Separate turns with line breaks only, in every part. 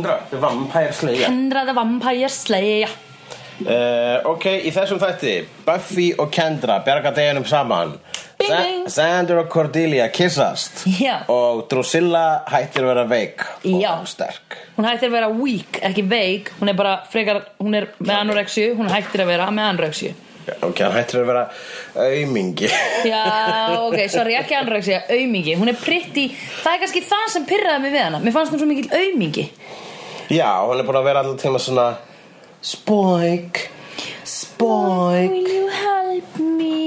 Vampire Slayer
Kendra the Vampire Slayer
uh, Ok, í þessum þætti Buffy og Kendra berga deginum saman
Bing,
Sa-
bing.
Xander og Cordelia kissast
Já.
Og Drusilla hættir að vera veik
Já.
Og sterk
Hún hættir að vera weak, ekki veik Hún er bara frekar, hún er með anorexju Hún hættir að vera með anorexju
Ok, hann hættir að vera aumingi
Já, ok, sorry, ekki anorexju Aumingi, hún er pretty Það er kannski það sem pyrraði mig við hana Mér fannst hún svo mikill aumingi
Já, hann er búin að vera allir tíma svona Spoik Spoik
you help me?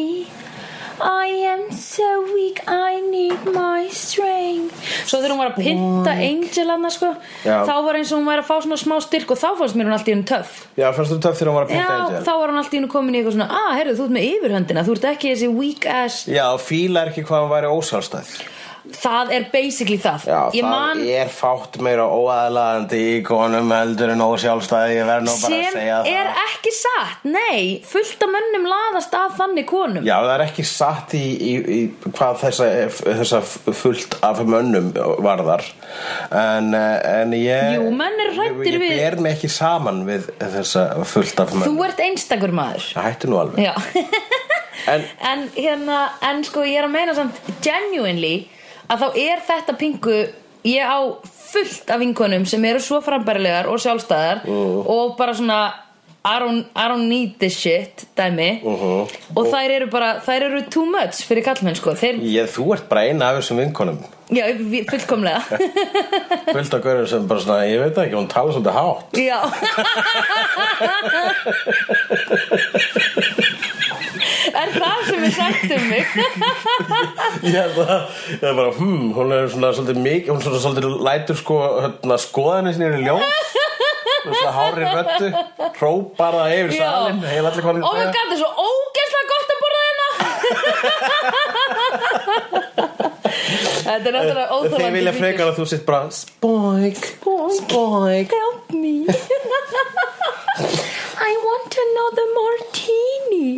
I am so weak, I need my strength Svo þegar hún var að pynta Angel hana, sko
Já.
Þá var eins og hún var að fá svona smá styrk Og þá fannst mér hún alltaf í hún töff
Já, fannst þú töff þegar hann var að pynta
Já,
Angel?
þá var hann allt í hennu komin í eitthvað svona Ah, herru, þú ert með yfirhöndina, þú ert ekki þessi weak ass
Já, fílar ekki hvað hann væri ósálstæð
Það er basically það
Já,
Ég
það
man
er fátt meira óaðlaðandi í konum heldur en ósjálfstæði Ég verð nú bara að
sem
segja það
er ekki satt Nei, fullt af mönnum laðast að þannig konum
Já, það er ekki satt í, í, í hvað þessa, þessa fullt af mönnum varðar en, eh, en ég
Jú, menn eru hræddir
ég,
við-
Ég ber mig ekki saman við þessa fullt af
Þú
mönnum
ert einstakur maður
Það hættu nú alveg
Já
En
En hérna, en sko ég er að meina samt Genuinely Að þá er þetta pingu Ég á fullt af vinkonum sem eru svo frambærilegar og sjálfstæðar Og bara svona I don't, I don't need this shit dæmi
Mhm.
og þær eru bara, þær eru too much fyrir kallmenn sko, þeir,
ég, þú ert bara eina af þessum vinkonum
já, við- fullkomlega
fullt af görður sem bara svona, ég veit það ekki, hún tala svolítið hátt
já er það sem er sagt um mig
Ég held að, ég held bara, hmm, hún er svona svolítið mikið, hún svona svolítið lætur sko, hérna, skoðanir sinni eru í ljós Hún er svona hári röttu, hrópar það yfir
Já.
salin, heil allir hvað hún er
oh my god, það er svo ógeðslega gott að borða hérna þetta er náttúrulega óþólandi
Þeir vilja frekar að þú sitt bara, spoik, spoik
help me I want another martini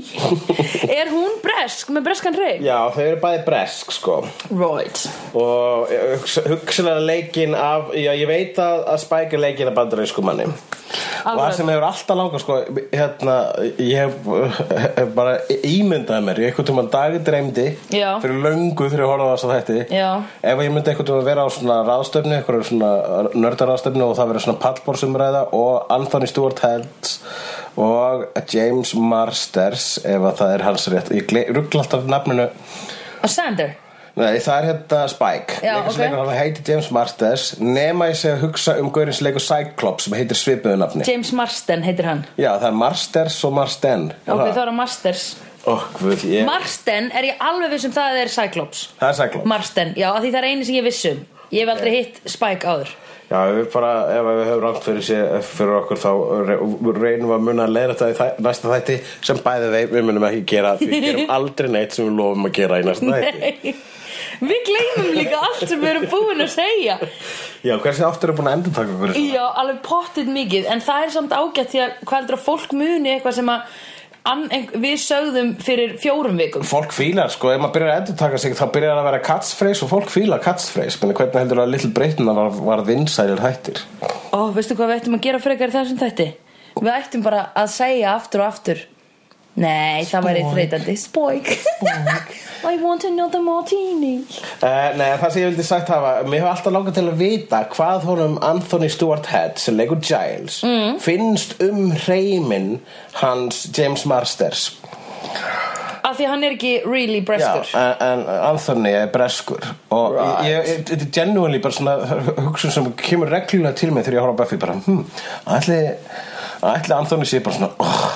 er hún bresk með breskan reik
Já, þau eru bæði bresk, sko
right
Og eh, hugsalega leikin af, já, ég veit að, að Spike er leikin af bandarísku manni Og það
Alveg.
sem hefur alltaf langað sko, hérna, ég hef, hef bara ímyndað mér, ég eitthvað tímann dagi dreymdi
Já.
fyrir löngu þegar ég horfði á þess að þetta
Já.
Ef ég myndi eitthvað tímann vera á svona ráðstöfnu, eitthvað svona nördaráðstöfnu og það verið svona pallbórsumræða og Anthony Stewart Heads og James Marsters, ef að það er hans rétt, ég ruggla alltaf nafninu
og Sander
Nei, það er hérna Spike
Já, ok.
Leikarsleikur okay. heitir James Marsters nema ég sé að hugsa um gaurinn sem leikur Cyclops sem heitir svipuðu nafni
James Marsden heitir hann
Já, það er Marsters og Marsten
ok, þá er hann Masters
oh, guð, ég...
Marsten er ég alveg viss um það er Cyclops
Það er Cyclops
Marsten, já, af því það er eini sem ég viss um ég hef aldrei hitt Spike áður
Já, ef við bara, ef við höfum rangt fyrir, sér, fyrir okkur þá re- reynum við að muna að leira þetta í þæ- næsta þætti sem bæði vei, við munum ekki gera því við gerum aldrei neitt sem við lofum að gera í næsta þætti
Nei. við gleymum líka allt sem við erum búin að segja
Já, hversu aftur er búin að endur taka okkur í svona?
já, alveg pottit mikið en það er samt ágætt því að hvað heldur að fólk muni eitthvað sem að an, ein, við sögðum fyrir fjórum vikum
Fólk fílar, sko, ef maður byrjar að endur taka sig þá byrjar það að vera catchphrase og fólk fílar catchphrase menn hvernig heldur að Little Britain var, var vinsælir hættir
ó, veistu hvað við ættum að gera frekar í þessum þætti við ættum bara að segja aftur og aftur nei, það væri þreytandi Spoik I want another martini
uh, Nei, það sem ég vildi sagt hafa mér hefur alltaf langað til að vita hvað honum Anthony Stewart Head sem leikur Giles mm. finnst um hreiminn hans James Marsters
af því að hann er ekki really
Já,
breskur
en, en Anthony er breskur og
Right.
ég, ég, þetta er genuinely bara svona hugsun sem kemur reglulega til mig þegar ég horf á Buffy bara, hm, ætli, ætli Anthony sé bara svona oh,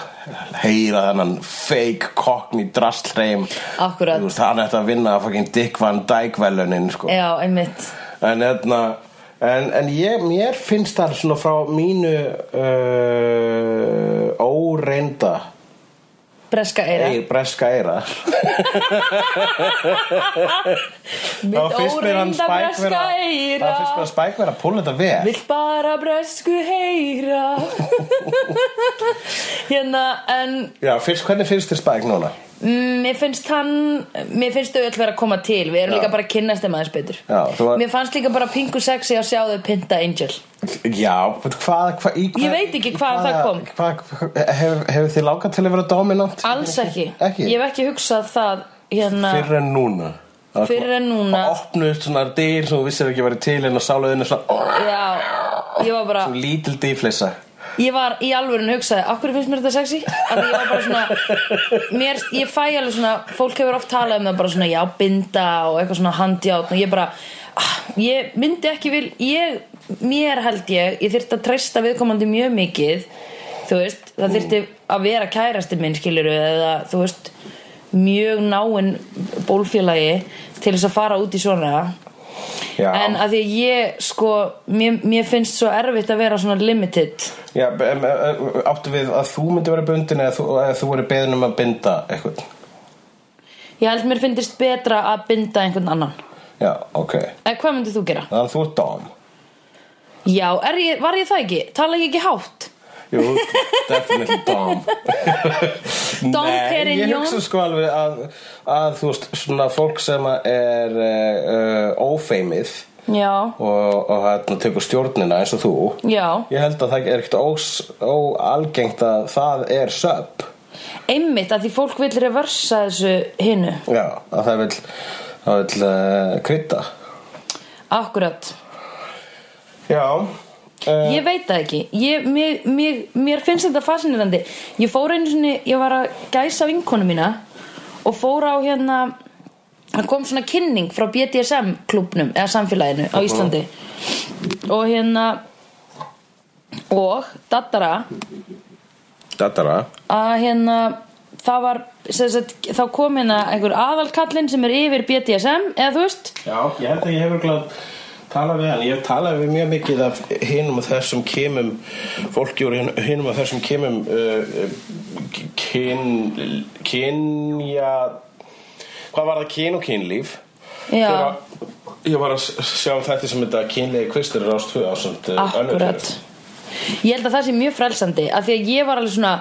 heyra þennan fake cockney drastreim
Akkúrat.
hann ætti að vinna að fucking Dick Van Dyke velunin sko.
já, einmitt
en hérna En, en ég, mér finnst það svona frá mínu uh, óreinda
breska eira
eir, breska eira
Mitt
þá finnst mér hann
óreinda
spæk
breska
vera þá
eira
finnst mér hann spæk vera að púla þetta vel
Vill bara bresku heyra Hérna, en
já, fyrst, hvernig finnst þér spæk núna?
Mm, Mér finnst hann Mér finnst þau öll vera að koma til Við erum
Já.
líka bara að kynnast þeim aðeins betur
Já, þú var-
Mér fannst líka bara pingu sexy að sjá þau pinta Angel
Já, hvað, hvað, hvað
Ég veit ekki hvaðan það kom.
hvað, hef, Hefur þið lákað til að vera dominant?
Alls ekki,
Ekki?
Ég hef ekki hugsað það hérna
Fyrr en núna Það
Fyrr en núna.
Og opnuðust svona dyr sem þú vissir ekki að vera til en á sáluðinu svona
Já, ég var bara
Svo lítil dýflissa
Ég var í alvörun hugsaði Akkur finnst mér þetta sexy? Af því ég var bara svona mér, Ég fæ alveg svona Fólk hefur oft talað um það bara svona Já, binda og eitthvað svona handjátt Og ég bara ah, Ég myndi ekki vil ég, Mér held ég Ég þyrfti að treysta viðkomandi mjög mikið Þú veist Það þyrfti að vera kærasti minn skiluru Eða þú veist Mjög náinn bólfélagi Til þess að fara út í svona
Já,
En að því að ég sko mér, mér finnst svo erfitt að vera svona limited
Já em, em, em, áttu við að þú myndi vera bundin eða þú, eða þú verið beðin um að binda eitthvað
Ég held mér finnist betra að binda einhvern annan
Já, ok
En hvað myndir þú gera?
Þannig að þú ert dom
Já, er ég, var ég það ekki? Tala ég ekki hátt?
Jú, definitely dom
Dom
Nei, ég
Perignon.
hugsa sko alveg að, að þú veist, svona fólk sem að er uh, ófeimið
Já,
og, og hérna tekur stjórnina eins og þú
já
Ég held að það er ekkert ós, óalgengt að það er söp
Einmitt að því fólk vil reversa þessu hinu
Já, að það vil, það vil uh, krydda
Akkurat
Já uh,
Ég veit það ekki ég, mér, mér, mér finnst þetta fascinirandi Ég fór einu sinni, ég var að gæsa vinkonu mína Og fór á hérna Það kom svona kynning frá BDSM klubnum Eða samfélaginu á Íslandi Og hérna Og Dattara
Dattara
að hérna það var sem sagt, þá kom hérna einhver aðalkallinn sem er yfir BDSM eða þú veist
Já, ég held að ég hefur glátt talað við hann, ég hef talað við mjög mikið af hinum og þessum kemum fólki úr hin- hinum og þessum kemum uh, uh, kyn, kynja hvað var það kyn og kynlíf
Já.
Þegar ég var að s- sjá um þetta sem þetta kynlegi kvistur er ást 2 ásamt uh, önnur
akkurat ég held að það sé mjög frelsandi að því að ég var alveg svona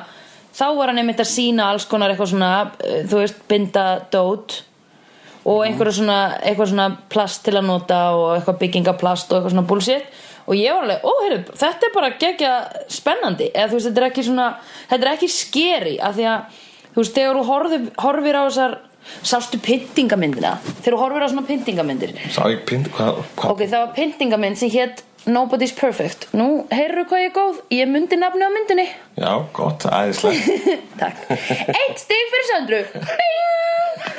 þá var hann einmitt að sína alls konar eitthvað svona eh, þú veist binda dót
Mhm.
og einhverju svona eitthvað svona plast til að nota og eitthvað byggingaplast og eitthvað svona bullshit og ég var alveg, ó heyrðu, þetta er bara gegja spennandi, eða þú veist, þetta er ekki svona þetta er ekki skeri, af því að þú veist, þegar þú horfir, horfir á þessar sástu pyntingamyndina þegar þú horfir á svona pyntingamyndir
Sá ég pind, hvað, hvað?
Ok, það var pyntingamind sem hétt Nobody's Perfect Nú, heyrðu hvað ég er góð, ég myndi nafni á myndinni
Já, gott, æðislega
Takk Eitt stig fyrir Söndru Bing!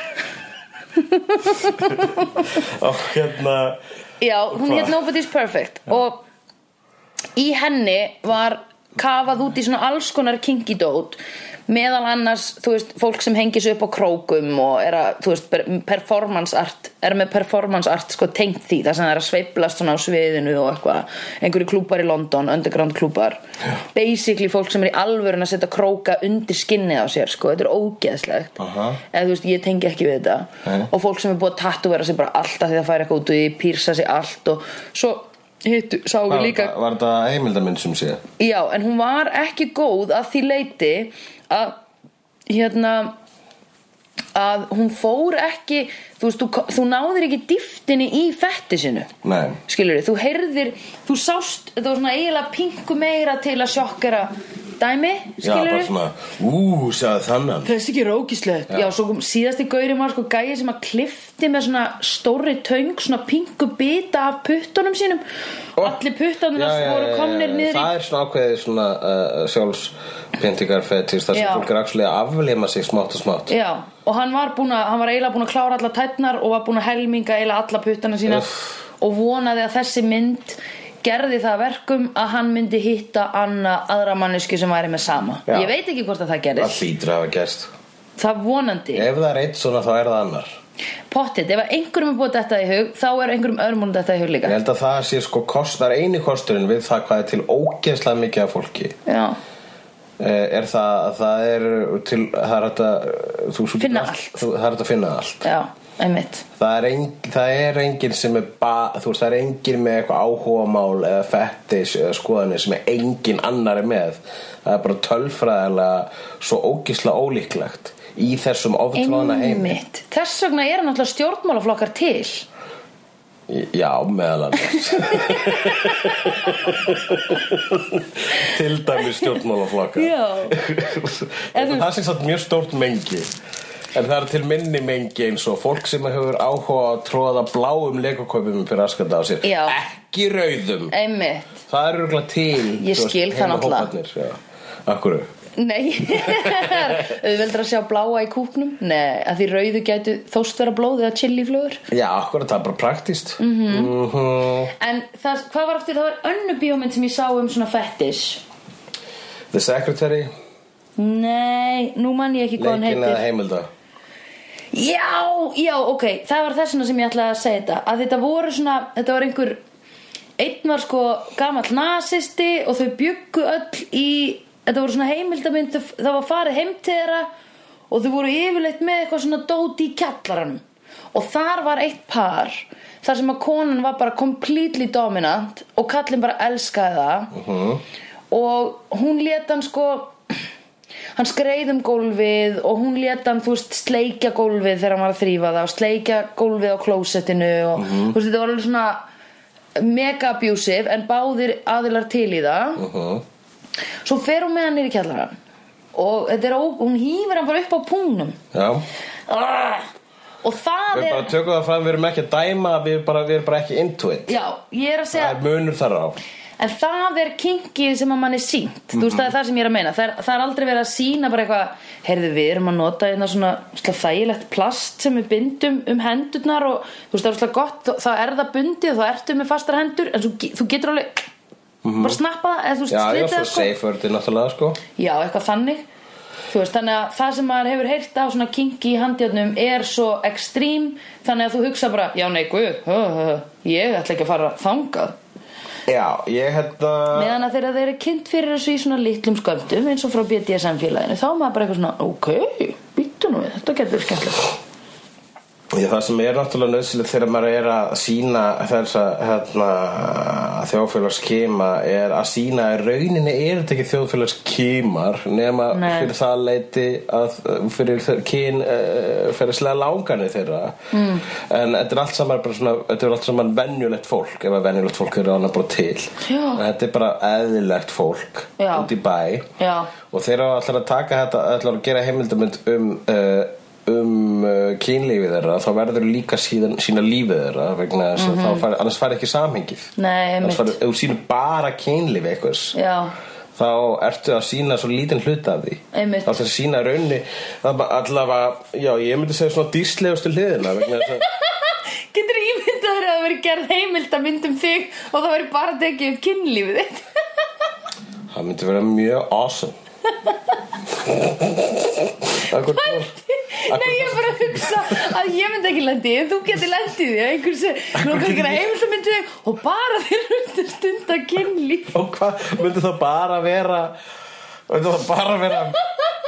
Og hérna,
Já, hún hétt Nobody's Perfect Og í henni var kafað út í svona alls konar kinky dót meðal annars, þú veist, fólk sem hengis upp á krókum og er að, þú veist, per- performance art er með performance art sko tengt því það sem það er að sveiplast svona á sviðinu og eitthvað, einhverju klúpar í London underground klúpar, basically fólk sem er í alvörun að setja króka undir skinnið á sér, sko, þetta er ógeðslegt
Aha.
eða þú veist, ég tengi ekki við þetta
Nei.
og fólk sem er búið að tattúvera sér bara allt að því það færi eitthvað út og ég pýrsa sér allt og svo hittu, sá við
var,
líka
þetta- var þetta heimildamind sem sé?
Já, en hún var ekki góð að því leiti að hérna að hún fór ekki þú veist, þú, þú náðir ekki dýftinni í fetti sinu
Nei
skilur þú heyrðir, þú sást þetta var svona eiginlega pingu meira til að sjokkera dæmi,
Já,
skilur
bara svona, ú, sagði þannan
þessi ekki er ógislegt já. svo kom síðasti gaurið var sko gæið sem að klifti með svona stóri töng svona pingu bita af puttunum sínum og allir puttunum voru komnir niður í
Það er svona ákveðið svona uh, sjálfspyntingar fetist þar sem
Já.
fólk er actually að aflema sig smátt og smátt
Já, og hann var, búin að, hann var eiginlega búin að klára alla tætnar og var búin að helminga eiginlega alla puttana sína og vonaði að þessi mynd gerði það að verkum að hann myndi hitta anna aðra mannesku sem væri með sama
Já.
ég veit ekki hvort að það
Það
gerist
hlýtur að hafa gerst
það vonandi,
Ef það er eitt svona þá er það annar
pottit ef að einhverjum er búið þetta í hug þá er einhverjum öðrum búin þetta í hug
Ég
líka
held að það sé sko kostnar eini kosturinn við það hvað er til ógeðslega mikið af fólki
Já,
Eh, er það að það er til það er hægt að þú, þú,
Finna
getur
allt.
þú, það er hægt að finna allt
já, einmitt
það er, ein, það er engin sem er ba, þú veist það er engin með eitthvað áhugamál eða fettis eða skoðanir sem er engin annar er með það er bara tölfræðilega svo ógisla ólíklegt í þessum oftrúðana heim
Einmitt. Þess vegna eru náttúrulega stjórnmálaflokkar til.
Já, meðal annars Til dæmis stjórnmálaflokka
Já.
En Það sé satt mjög stórt mengi En það er til minni mengi eins og fólk sem hefur áhuga á að tróða bláum legokaupum fyrir askanda á sér
Já.
Ekki rauðum
Einmitt.
Það er örgulega til
Ég
þú veist,
skil það
heilu
náttúrulega.
hóparnir, já. Af hverju?
Nei, auðveldur að sjá bláa í kúknum Nei, að því rauðu gætu þóst vera blóð eða chiliflugur
Já, akkurat, það er bara praktíst mm -hmm.
Mhm. En það, hvað var aftur, það var önnu bíómynd sem ég sá um svona fettis
The Secretary,
Nei, nú man ég ekki hvað hann
leikin
heitir
eða heimilda
Já, já, ok, það var þessina sem ég ætlaði að segja þetta að þetta voru svona, þetta var einhver einn var sko gamall nasisti og þau bjuggu öll í þetta voru svona heimildamynd þau- það var farið heim til þeirra og þau voru yfirleitt með eitthvað svona dóti í kjallaranum og þar var eitt par þar sem að konan var bara completely dominant og kallinn bara elskaði það og hún let hann sko hann skreið um gólfið og hún let hann, þú veist, sleikja gólfið þegar hann var að þrýfa það og sleikja gólfið á klósettinu og
Mhm.
þú veist, þetta var alveg svona mega abusive en báðir aðilar til í það
Mhm.
svo fer hún með hann niður í kjallarann og þetta er ó, hún hýfur hann bara upp á pungnum
Já,
Arr! og það
við bara
er
tökum það fram, við erum ekki að dæma, við erum bara, við erum bara ekki into it
já, ég er að segja
Það er munur þar á
En það er kinkið sem að mann er sínt Þú veist, það er það sem ég er að meina Það er, það er aldrei verið að sína bara eitthvað Heyrðu, við erum að nota einna svona, svona þægilegt plast sem við bindum um hendurnar og þú veist, það er svona gott þá er það bundið og þá ertu með fastar hendur en þú, ge- þú getur alveg bara snappa það eða þú veist,
Mhm. Já, já,
slitið
svo
það sko
safe word er náttúrulega sko
Já, eitthvað þannig Þú veist, þannig að það sem maður hefur heyrt á svona kinki í handjörnum er svo ekstrím þannig að þú hugsa bara, já nei, guð, hö, hö, hö, ég ætla ekki að fara þangað
Já, ég hérna
meðan að þeirra þeir eru kynnt fyrir þessu í svona litlum sköndum eins og frá BDSM félaginu þá er maður bara eitthvað svona, ok, býttu nú við þetta getur verið skemmtilegt
Já, það sem er náttúrulega nöðsilegt þegar maður er að sína þess að hérna, þjóðfélagskima er að sína að í rauninni er þetta ekki þjóðfélagskimar nema
Nei.
fyrir það leiti að uh, fyrir þau- kyn uh, fyrir slega langanir þeirra mm. en þetta er allt saman bara svona þetta er allt saman venjulegt fólk ef að venjulegt fólk eru annað bara til
Já.
En þetta er bara eðlilegt fólk
Já.
út í bæ
Já,
og þeir eru allar að taka þetta allar að gera heimildamönd um uh, um uh, kynlífið þeirra þá verður líka síðan, sína lífið þeirra vegna þess að þá fari, annars fari ekki samhengið
Mhm. Nei, einmitt.
annars fari, ef þú sýnir bara kynlífið einhvers
já,
þá ertu að sína svo lítinn hluta af því
Einmitt.
þá ertu að sína raunni allavega, já ég myndi segja svona dýrslegustu hliðina vegna þess að
getur ímyndað þér að það verið gerð heimild að myndum þig og það verið bara að tekið upp kynlífið þitt
það myndi vera mjög awesome Akkur,
Nei, ég er bara að hugsa að ég myndi ekki lendi en þú getur lendið því að einhversu nokkuð ekki heimild að myndu þig og bara þeir eru stund að kynlíf
Og hvað, myndi það bara vera Myndi það bara vera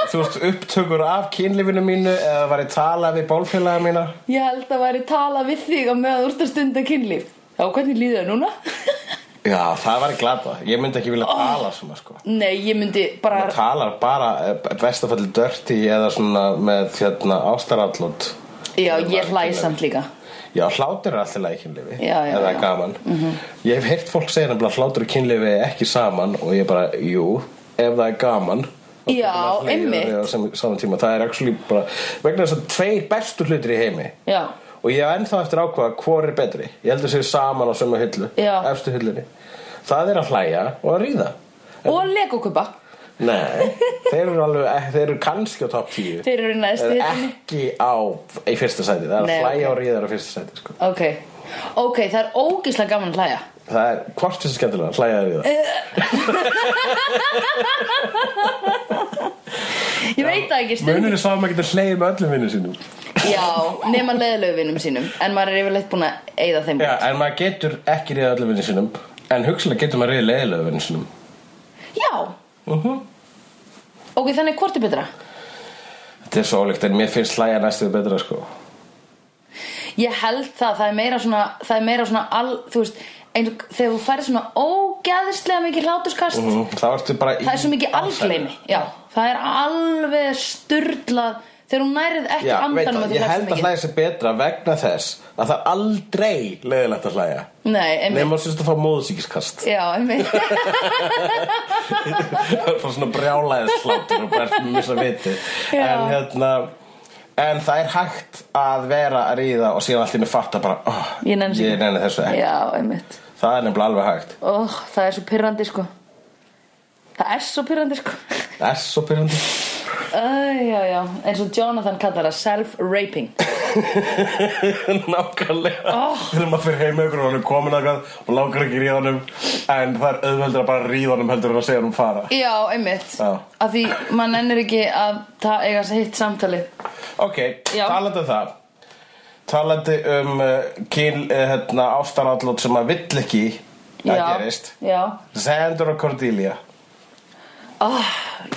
Þú veist, upptökur af kynlífinu mínu Eða var ég tala við bólfélaga mína
Ég held að væri tala við þig á meðan þú ert að stunda kynlíf Já, hvernig líður það núna?
Já, það var ég glata Ég myndi ekki vilja tala svona sko
Nei, ég myndi bara
Það talar bara eh, bestafalli dörti Eða svona með hérna, þérna ástarallot
Já, ég hlæði samt líka
Já, hlátur er alltaf í kynlífi
Já, já,
Eða
já. Mhm.
gaman -hmm. Ég hef heyrt fólk segja nefnilega að hlátur og kynlífi er ekki saman Og ég bara, jú, ef það er gaman þá
Já,
getur maður hlegið
einmitt.
á sam- sama tíma, það er actually bara vegna þess að tveir bestu hlutir í heimi
Já,
og ég hef ennþá eftir að ákvaða hvor er betri ég heldur sér saman á sömu hillu
Já.
efstu hillunni það er að hlæja og að ríða
og legokupa
nei, þeir eru, alveg, eh, þeir eru kannski á topp 10
Þeir eru í næstu
Eða
hillunni.
ekki á í fyrsta sæti það er
Nei,
að hlæja
ok.
og ríða er á fyrsta sæti sko.
Ok, ok, það er ógislega gaman að hlæja
það er hvort þessi skemmtilega hlæja og ríða
Ég veit það ekki stundum
munur er sá að maður getur hlæja með öllum vinnu sínum
Já, nema leðilöfinum sínum En maður er yfirleitt búin að eyða þeim
Já, en maður getur ekki ríða öllum vinnu sínum en hugsalega getur maður ríða leiðilega vinnu sínum
Já,
uh
ok, þannig hvort er betra?
þetta er svo ólíkt en mér finnst hlæja næstuð betra sko.
Ég held það, það er meira svona, það er meira svona al, þú veist eins og Þegar þú færir svona ógeðislega mikið hláturskast
Mhm. mm, þá ertu bara í
Það er svo mikið algleimi Já, það er alveg sturdlað þegar hún nærið ekki
Já, veit
andanum
það, ég held að hlæja sér betra vegna þess að það er aldrei leiðilegt að hlæja
Nei,
Nei,
einmitt
maður sérst að fá móðsíkiskast
Já, einmitt
Það er svona brjálæðisláttur og bært með missa viti
Já.
En hérna En það er hægt að vera að ríða og síðan allt í mig fatta bara oh,
Ég nenni þessu
ég nenni þessu ekki
Já, einmitt
Það er nefnilega alveg hægt
Ó, það er svo pyrrandi sko Það er svo pyrrandi sko
Það er svo pyrrandi
Æ, já, já, eins og Jonathan kallar það self-raping
Nákvæmlega Þegar maður fyrir heim með ykkur og hann er komin að hvað og langar ekki í ríðanum En það er auðveldur að bara ríðanum heldur en að segja hann um fara
Já, einmitt
Já.
Af því mann ennir ekki að það eiga sér hitt samtalið
Ok,
Já.
talandi um það Talandi um uh, kyn, uh, hérna, ástarállót sem að vill ekki að
Já,
gerist
Já,
Xander og Cordelia
oh,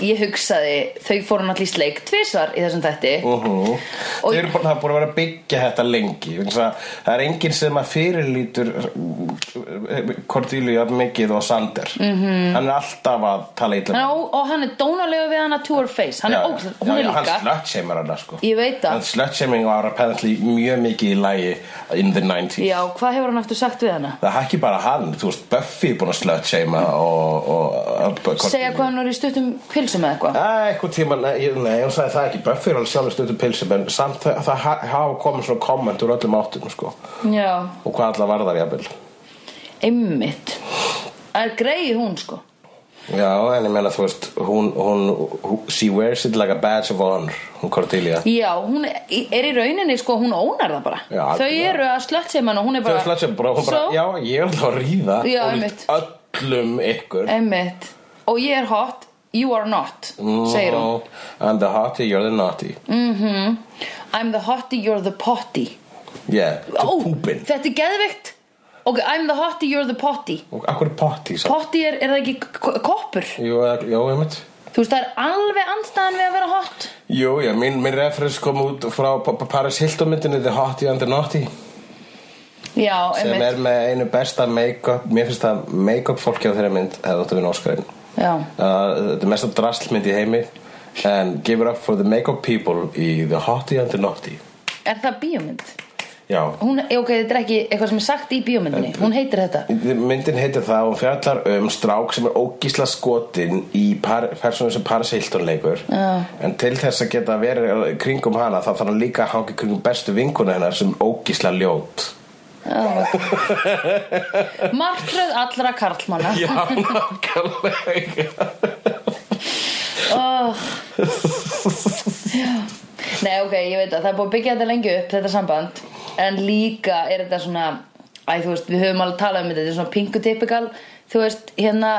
ég hugsaði þau fóru náttúrulega í sleik tvisvar í þessum þætti
uh
Mhm.
-huh.
Og-
Þau eru búin það er búin að vera að byggja þetta lengi vegna þess að Það er enginn sem að fyrirlítur uh, Cordelia mikið og Xander -hmm. Hann er alltaf að tala illa
Mhm.
um
hann, og, og hann er dónalega við hana to her face hann er ógst, hún er líka
Hann slötsheimar hana sko
Ég veit
Hann
það
slötsheiming var apparently mjög mikið í lagi in the 90s
Já, hvað hefur hann aftur sagt við hana?
Það er ekki bara hann, þú veist, Buffy er búin að slutsheima og, og, og
Segja hvað hann er í stuttum pilsum eða eitthvað
Æ, eitthvað tíma, nei, ég- nei, hún sagði það ekki Buffy er alveg sjálfur stundum pilsum en samt það, það ha- hafa komið svona komment úr öllum áttum, sko
Já,
og hvað allar varðar, jafnvel
einmitt Það er greið hún sko
Já, en ég meina, þú veist, hún, hún, hún she wears it like a badge of honor hún Cordelia
Já, hún er, er í rauninni sko, hún ónar það bara
Já,
Þau
algjörlega.
eru að slötta hann og hún er
Þau
bara
slutsheima bara, hún bara,
So?
já, ég er alltaf að ríða
Já,
ólíkt
einmitt.
öllum ykkur
Einmitt. Og ég er hot, you are not, segir hún.
Mm, I'm the hottie, you're the naughty
I'm the hottie, you're the potty.
Yeah, to
Ó,
poopin
þetta er geðveikt. Ok, I'm the hottie, you're the potty.
Og akkur er potty, sagði-
Potty er, er það ekki k- koppur?
Jú, eða- jú, einmitt
Þú veist, það er alveg andstæðan við að vera hot.
Jú, já, minn, minn referens kom út frá Pa- Pa- Paris Hilton myndinni The Hottie and the Naughty
Já,
sem
einmitt.
er með einu besta make-up mér finnst það make-up fólki á þeirra mynd hefði átt að vinna Óskarinn
Já.
uh, Þetta er mesta draslmynd í heimi and give it up for the make-up people í The Hottie and the Naughty
Er það bíómynd?
Já,
Hún, eh, ok, þetta er ekki eitthvað sem er sagt í bíómyndinni. Hún heitir þetta.
myndin heitir það og fjallar um strák sem er ógísla skotin í par, persónu sem Paris Hilton leikur
Já.
en til þess að geta verið eh, kringum hana þá þarf hann líka að hanga í kringum bestu vinkuna hennar sem er ógísla ljót
Martröð allra karlmanna.
Já, nákvæmlega
oh. Nei, ok, ég veit að það er búið að byggja þetta lengi upp, þetta samband En líka er þetta svona Æ, þú veist, við höfum alveg talað um þetta Þetta er svona pingu typikal Þú veist, hérna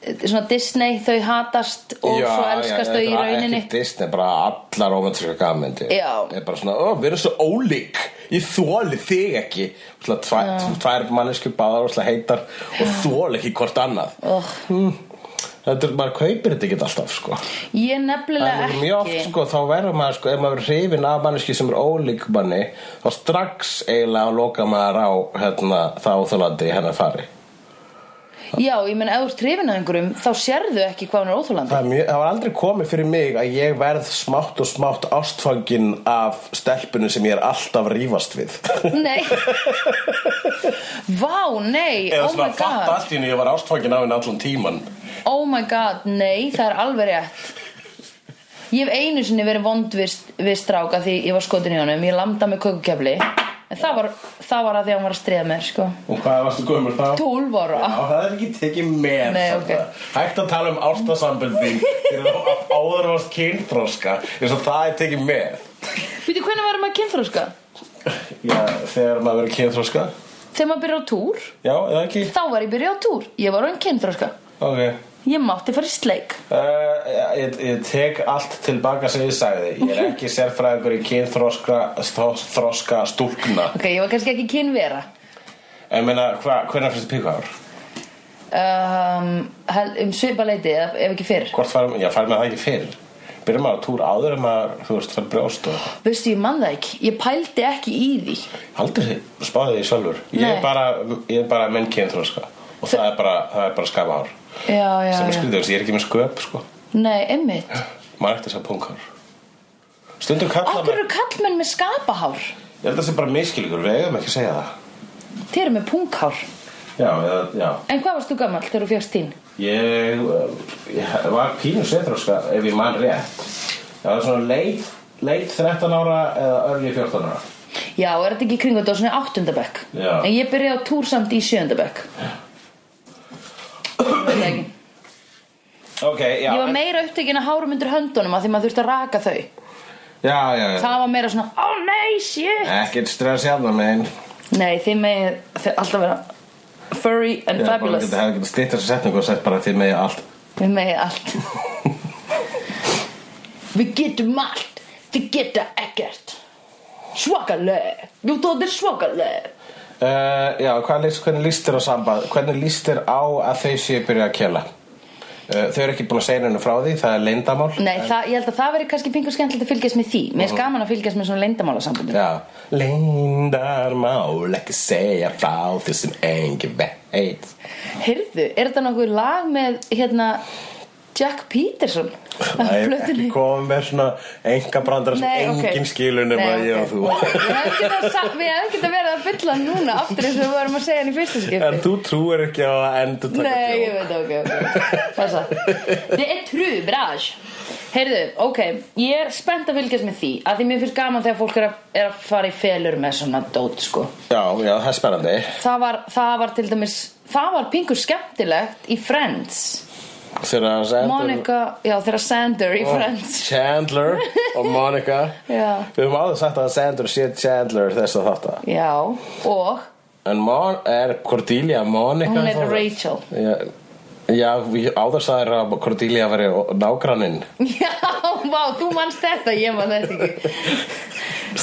Svona Disney, þau hatast Og
já,
svo elskast
já,
þau í
þetta er
rauninni
Ekki Disney, bara allar romantíska gammyndi
Já.
Er bara svona, ó, við erum svo ólík Ég þóli þig ekki Svona tvær, tvær mannesku báðar og heitar Og þóli ekki hvort annað
oh.
Þetta er, maður kaupir þetta ekki alltaf, sko
Ég
Það
nefnilega
er
ekki
mjög oft, sko, þá verður maður, sko Ef maður er hrifin af manneski sem er ólík manni Þá strax eiginlega loka maður á, hérna, þá þólandi hennar fari
Já, ég menn, ef þú ert hrifin að einhverjum Þá sérðu ekki hvað hún er óþólandi
Það, er mjög, það var aldrei komið fyrir mig að ég verð smátt og smátt ástfangin af stelpunum sem ég er alltaf að rífast við.
Nei Vá, nei,
Eða
oh my
svona fatt
god
allt í henni, ég var ástfangin af henni allan tíman.
Oh my god, nei, það er alveg rétt Ég hef einu sinni verið vond við, við stráka því ég var skotin í honum Ég landa með kökukefli En það var, það var að því að hann var að stríða mér, sko
Og hvað varstu gömur þá?
12 ára
Já, það er ekki tekið með
Nei,
samt
ok.
það. Hægt að tala um ástasambönd þín þegar þú áður varst kynþróska eins og það er tekið með
Býtu, hvernig verður maður kynþróska?
Já, þegar maður verið kynþróska
Þegar maður byrja á túr,
Já, eða ekki?
þá var ég byrja á túr Ég var á enn kynþróska
Ok
Ég mátti fara í sleik
Uh, ég, ég tek allt tilbaka sem ég sagði Ég er ekki sérfræðingur í kynþroska þros- þroska stúlkna
Ok, ég var kannski ekki kynvera
En meina, hva, hvernig finnst þið píkvár?
um, hel- Um svipaleiti, ef, ef ekki fyrr
Hvort færum, já, færum maður það ekki fyrr Byrjum maður að túr áður en maður, þú veist, fær brjóst og
Veistu, ég man það ekki Ég pældi ekki í því
Aldrei sé- spáði því sjálfur Ég er
Nei.
bara, ég er bara menn kynþroska Og það er bara, það er bara skapahár
Já, já,
Sem sko- er
já
skrýður, ég er ekki með sköp, sko
Nei, einmitt
Maður ætti þess að punghár Stundum kalla
Akkur eru kallmenn með skapahár
Ég held að það sé bara miskilíkur, við eigum ekki að segja það
Þeir eru með punghár
Já, eða, já
En hvað varst þú gamall þegar þú fjast þín?
Ég, uh, ég var pínu setróska ef ég man rétt Ég var svona leit, leit 13 ára eða örli 14 ára
Já, er þetta ekki í kringum þetta á svona áttundabökk
Já.
En ég byrjaði á túr samt í sjöndabökk Ég
Ok, já
var meira upptekin að hárum undir höndunum að því maður þurfti að raka þau
Já, já, já
Það var meira svona, ó nei, shit
Ekkert stress hérna, mein
Nei, þið megið þið alltaf vera furry and fabulous
Það hefði getið stýtt þessu setningu og sett bara þið með allt
Við megið allt Við getum allt Þið geta ekkert Svakaleg Jú, það er svakaleg
uh, Já, hvað líst, hvernig líst þér á samband Hvernig líst þér á að þau séu byrja að kjela uh, Þau eru ekki búin að segja henni frá því Það er leyndamál
Nei, það, ég held að það veri kannski pingu skemmtilegt að fylgjast með því Mér er skaman að fylgjast með svona leyndamálasambundum
Já, leyndarmál Ekki segja frá því sem engin veit
Heyrðu, er þetta nokkuð lag með hérna Jack Peterson
Það er ekki komið með svona enga brandara sem enginn skilur nema ég og þú
þú Við hefum ekki að vera að fylla hann núna aftur eins og við varum að segja hann í fyrsta skipti
En þú trúir ekki á að endur taka
Nei, ég veit það, ok, ok Passa Þetta er trú, braj Heyrðu, ok, ég er spennt að fylgjast með því að því mér finnst gaman þegar fólk er að, er að fara í felur með svona dót, sko
Já, já, það er spennandi
það var, það var til dæmis það var pingur skemmtilegt í Friends
Þegar Sander
Monica, já þeirra Sander í Friends
Chandler og Monica
Já.
Við höfum áður sagt að Sander sé Chandler þess að þetta
já, og
En Mon er Cordelia Monica
hún er
þá?
Rachel
Já, já við- áður sagðir að Cordelia veri nágranninn
já, vá, þú manst þetta ég man þetta ekki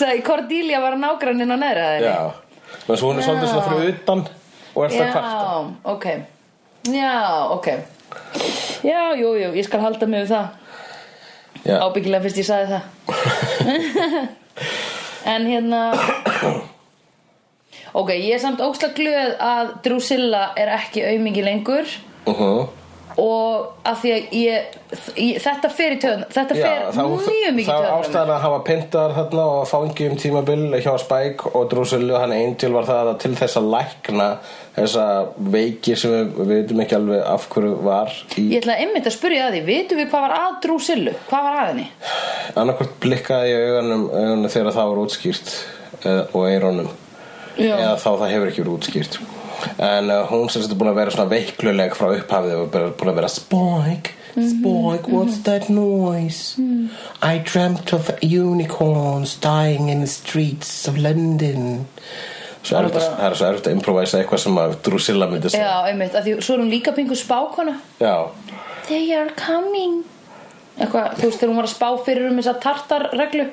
sagði Cordelia var nágranninn á neðra þeirri
Já, menn svo hún er
Já.
svolítið svona fyrir utan og er það sko. kvarta
já, ok já, ok já, jú, jú, ég skal halda mig við það
Já,
ábyggilega fyrst ég saði það en hérna ok, ég er samt óksla glöð að Drusilla er ekki aumingi lengur
uh
og að því að ég, ég þetta fer í töðun þetta fer mjög mikið í
Það var
töðun
ástæðan að hafa pyntar þarna og að fangi um tímabil hjá Spike og Drusilla og hann Angel var það að til þess að lækna þessa veiki sem við, við veitum ekki alveg af hverju var í
ég ætla einmitt að spyrja að því, vitum við hvað var að Drusillu hvað var að henni?
annarkvort blikkaði í augunum, augunum þegar það var útskýrt uh, og eironum
Já.
eða þá það hefur ekki verið útskýrt en uh, hún sem þetta búin að vera svona veikluleg frá upphafið og bara búin að vera Spike, Spike, Mm-hmm. what's that noise? I dreamt of unicorns dying in the streets of London Svo er þetta, það er svo erfitt að improvisa eitthvað sem að Drusilla myndi
já,
segja
einmitt, að því svo er hún líka pingu spákona
Já,
they are coming eitthvað, þú veist þegar hún var að spá fyrir um þessa tartarreglu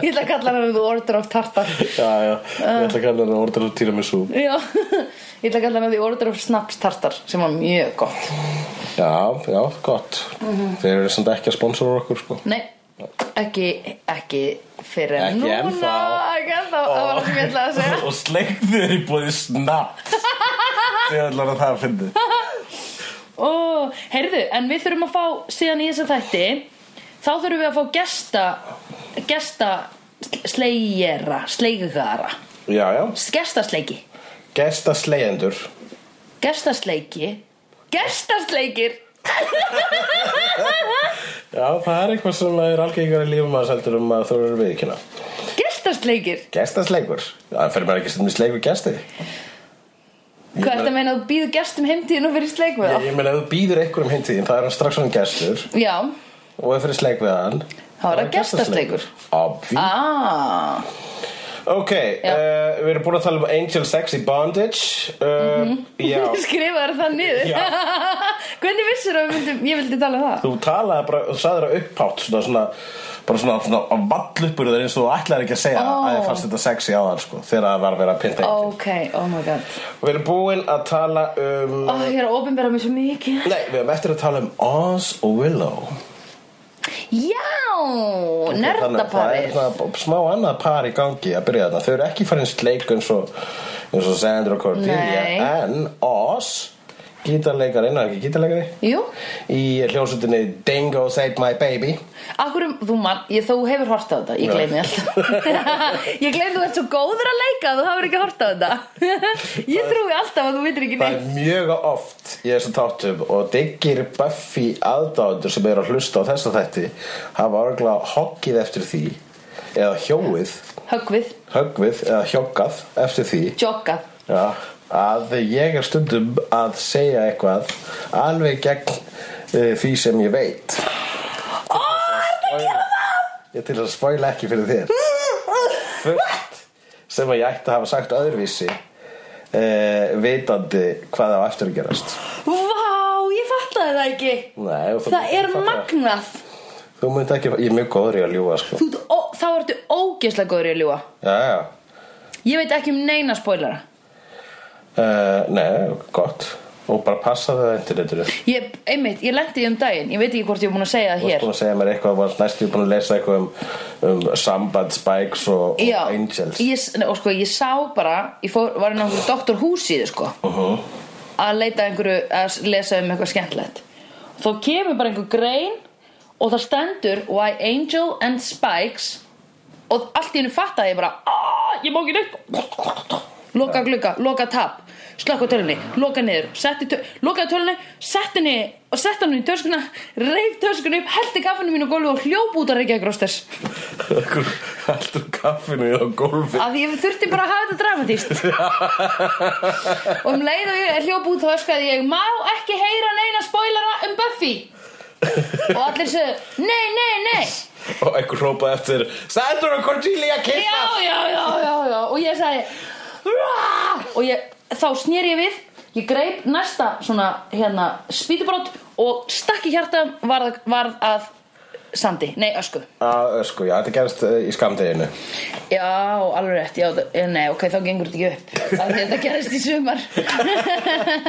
ég ætla að kalla hana the order of tartar
já, já,
Uh.
ég ætla að kalla þetta orðan að týra mig svo
já, ég ætla að kalla hana the order of snaps tartar sem var mjög gott
Já, já, gott
Mhm.
Þeir eru samt ekki að sponsora okkur sko
nei, ekki ekki fyrir
Ekki
núna
ennþá.
ekki ennþá, það var það sem ég ætla að segja
og sleikðu er í bóði snabbt þegar allar að það fyndi
Ó, heyrðu, en við þurfum að fá síðan í þessa þætti þá þurfum við að fá gesta gesta slegjera sleigara,
já, já,
gestasleiki
gesta sleigendur
Gestasleiki Gestasleikir
já, það er eitthvað sem er algengar í lífum að seldur um að þú eru viðkynna
Gestasleikir
gesta sleikur, það fyrir maður ekki stundum í sleik við gesti
Hvað ertu að meina að þú býður gestum heimtíðin og fyrir sleik við
ég,
það?
ég meina ef þú býður einhverjum heimtíðin það er hann strax hann gestur
Já
og ef fyrir sleik við hann
Þá er
þá
það gestasleikur.
Obvi.
Ah,
ok,
Já.
uh, við erum búin að tala um Angel Sexy Bondage uh,
Mhm.
já
skrifaður það niður
Já.
Hvernig vissir að myndum, ég vildi tala um það?
Þú talaði bara, þú sagði það upphátt svona, svona, bara svona, svona að vall uppur þar eins og þú ætlaðir ekki að segja
Ó.
að þið fannst þetta sexy á þar sko, þegar það var verið að pynta oh.
Ok, oh my god
Við erum búin að tala um
oh, Ég er að opinbera mig svo mikið
Nei, við erum eftir að tala um Oz og Willow
Já,
Þannig að Það er
nerdaparið
svona smá annað par í gangi að byrja þarna Þau eru ekki farin sleik eins og eins og Sandra og Cordelia
Nei.
En Oz gítarleikarinn, er ekki gítarleikari
Jú,
í hljósutinni Dingo's Ate My Baby
akkurum, þú mann, ég, þú hefur hort á þetta, ég gleymi alltaf Ég gleymi þú ert svo góður að leika að þú hafur ekki hort á þetta Ég trúi alltaf að þú vitir ekki
það
neitt
er mjög oft í þessu tátum og diggir Buffy aðdáðundur sem eru að hlusta á þessa þætti hafa örgulega hoggið eftir því eða hjóið
Höggvið,
höggvið eða hjókað eftir því
joggað
já, að ég er stundum að segja eitthvað alveg gegn uh, því sem ég veit
Ó, ertu að gera það?
ég er til að spoila ekki fyrir þér fullt sem að ég ætti að hafa sagt öðruvísi uh, vitandi hvað á eftir að gerast
Vá, ég fattaði það ekki
Nei, og þú-
Það er
fattar það.
magnað
Þú mynd ekki, ég er mjög góður í að ljúga sko.
Þú, ó, Þá ertu ógeðslega góður í að ljúa
Já, já
Ég veit ekki um neina spoilera
uh, Nei, gott Og bara passa það á internetinu Þú
ég, Einmitt, ég lendi því um daginn Ég veit ekki hvort ég er búin að segja það
varst
hér
búin að segja mér eitthvað varst Næstu ég búin að lesa eitthvað um, um Samband, Spikes og,
Já,
og Angels
ég, s- nei, og sko, ég sá bara Ég fór, var inn á einhverju doktor húsið sko,
-huh.
Að leita að einhverju Að s- lesa um eitthvað skemmtilegt Þó kemur bara einhver grein Og það stendur Why Angel and Spikes Og allt í hennu fattaði ég bara "Ah, Ég má ekki neitt Loka glugga, loka tab Slökk á tölunni, loka niður setti töl, Lokaði tölunni, setti henni Og setti henni í töskuna, reif töskuna upp Heldi kaffinu mínu gólfi og hljóp út að reykja grósters
Alltur kaffinu á gólfi
að ég þurfti bara að hafa þetta dramatíst og um leið og ég hljóp út þá öskaði ég má ekki heyra neina spoilera um Buffy og allir sögðu nei, nei, nei
Og einhver hrópaði eftir Sandra og Cordelia
já,
kissa
já, já, já, já og ég sagði "Rah!" og ég, þá snýr ég við ég greip næsta svona hérna spýtubrott og stakk í hjarta varð, varð að sandi, nei, ösku
Að, sko, já, þetta gerist uh, í skamdeginu
Já, alveg rétt, já, þa- eh, nei, ok, þá gengur þetta ekki upp Af því Þetta gerist í sumar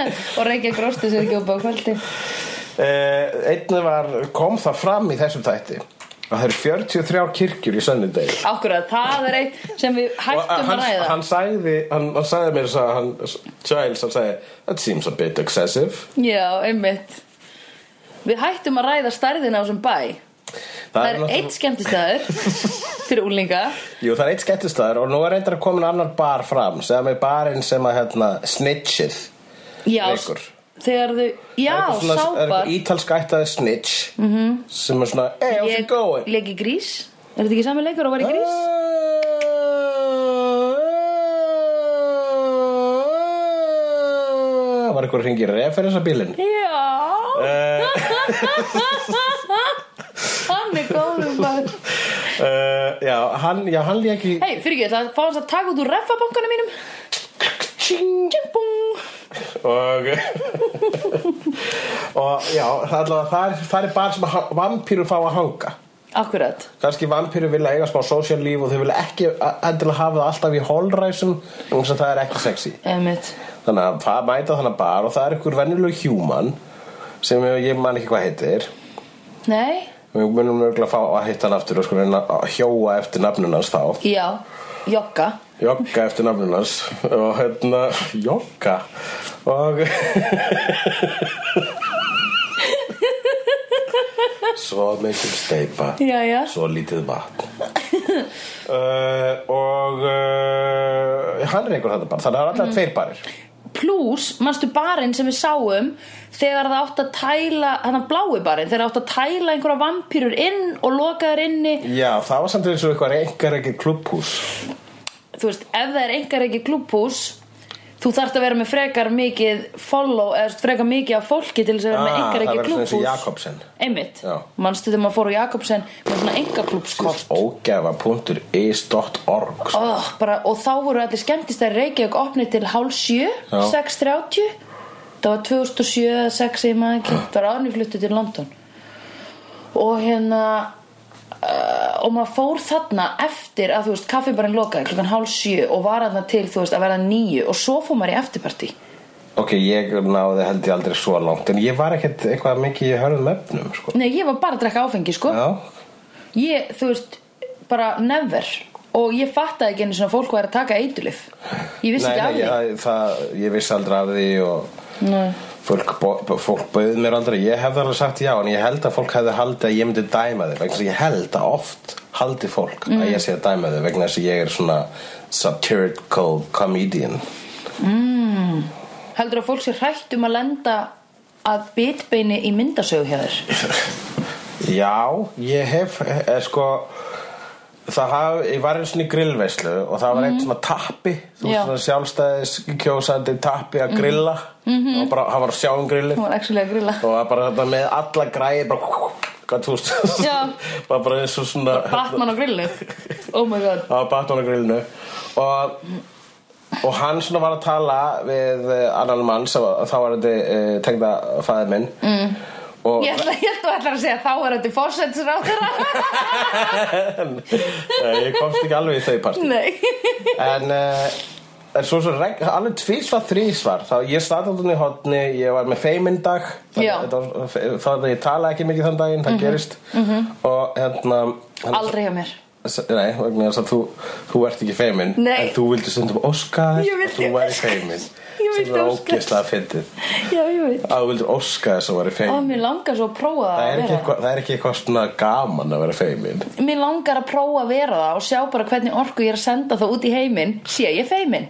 Og reykja grósti sér ekki upp á kvöldi
uh, Einnig var, kom það fram í þessum þætti að það eru 43 kirkjur í sönnudegi
Akkurat, það er eitt sem við
Og eh,
hættum
hann,
að ræða
hann sagði hann, hann sagði mér þess að hann Giles, hann sagði that seems a bit excessive
Já, einmitt Við hættum að ræða stærðina á þessum bæ Það er
náttúrulega-
eitt skemmtistæður Fyrir úlinga
Jú, það er eitt skemmtistæður og nú er reyndar að komin annar bar fram sem er barinn sem að hérna, snitchið
Já,
Leikur.
þegar þau Já,
Það er eitthvað svona- það er
sápar
eitthvað ítalsk ættaði snitch -hmm. sem er svona hey, how's it
Ég
going?
leik í grís Er þetta ekki sami leikur og
Ah,
var í grís?
Það var eitthvað hringi referens að bílinn
Já Hann er góður maður
uh, Já, hann, já, hann lék í
Hei, fyrir ekki, það fá hans að taka út úr refabankanum mínum Tjing, bung
og og já, það er allavega það er, það er bara sem að vampýru fá að hanga
Akkurat
kannski vampýru vilja eiga smá social líf og þau vilja ekki a- endilega hafa það alltaf í holræsum og það er ekki sexy
Emmett
þannig að það mæta þannig bara og það er ykkur venjuleg human sem ég man ekki hvað heitir
Nei,
við munum mjögulega fá að hitta hann aftur og sko reyna að hjóa eftir nafnunans þá
já, jogga
Jogga eftir nafnum hans og hérna, jogga og svo mikil steipa
Já, já
svo lítið vatn uh, og uh, hann reykur þetta bara þannig að það er
Mm.
allar tveir barir
Plús, manstu barinn sem við sáum Þegar það átt að tæla Þannig blái barinn, þegar það átt að tæla einhverja vampýrur inn Og loka þær inni
já, það var samt eins og eitthvað reyngar ekki klubbhús
Þú veist, ef það er engar ekki klúbhús Þú þarft að vera með frekar mikið follow Eða þú veist, frekar mikið af fólki til þess að vera með
Ah,
engar
það
ekki
verður svona eins og
klúbhús
Jakobsen.
Einmitt,
Já.
manstu þegar maður fór á Jakobsen Með svona engar klúbskort
ógefa.is.org
oh, bara, og þá voru allir skemmtistæri Reykjavík opnið til hálf sjö,
Já.
6.30 það var 2007 eða 6 ég maður ekki, það var árni fluttu til London og hérna uh, og maður fór þarna eftir að þú veist, kaffibarinn lokaði klukkan hálf sjö og var þarna til, þú veist, að verða nýju og svo fór maður í eftirparti
ok, ég náði held ég aldrei svo langt en ég var ekkert eitthvað mikið í hörðum efnum sko.
nei, ég var bara að drekka áfengi, sko
já,
ég, þú veist, bara never og ég fattaði ekki einu svona fólk væri að taka eitulif ég vissi
nei,
ekki af
nei,
því
ég, það, ég vissi aldrei af því og
Nei.
Fólk, bo- fólk bauð mér aldrei, ég hefði alveg sagt já en ég held að fólk hefði haldið að ég myndi dæma þig vegna þess að ég held að oft haldi fólk
Mm.
að ég sé að dæma þig vegna þess að ég er svona satirical comedian
Heldur að fólk sér hrætt um að lenda að bitbeini í myndasögu hjá þér?
Já, ég hef er, sko það haf, ég var einu svona í grillveislu og það var einn svona tappi þú veist
Mhm. Já.
svona sjálfstæðis kjósandi tappi að grilla -hmm. og bara, hann var að sjá um grillið
Hún Mhm. var actually að grilla.
og var bara þetta með alla græði bara hvað þú veist
Já.
var bara eins og svona
Batman á grillu. Oh my god.
á Batman-grillinu og, og hann svona var að tala við eh, annan mann sem var- þá var þetta uh, tengda fæðið minn mm. og
Ég ætla, ég ætla, ætla að segja þá er þetta fórsetis
Nei, Eh, ég komst ekki alveg í þau partí
Nei.
en uh, en svo svo reg, alveg tvísvar, þrísvar þá ég staði hún í hotni, ég var með feiminn dag
Já. Mhm,
þannig að þetta var- eh, þá að ég tala ekki mikið þann daginn, það gerist -hmm. og hérna hann-
Aldrei hjá mér.
S- Nei, vegna þess að þú, þú ert ekki feiminn
Nei.
En þú vildi stundum óska þess
Ég
að
vildi
Þú væri
óska
feiminn
þess. Ég vildi
Sem er
óska þess.
ógeðslega fyndið
Já, ég veit.
Að þú vildir óska þess að væri
Ó,
feiminn
mér langar svo að prófa
Það
að
er, ekki
vera.
eitthvað, það er ekki eitthvað svona gaman að vera feiminn
Mér langar að prófa að vera það og sjá bara hvernig orku ég er að senda það út í heiminn. Sé ég feiminn?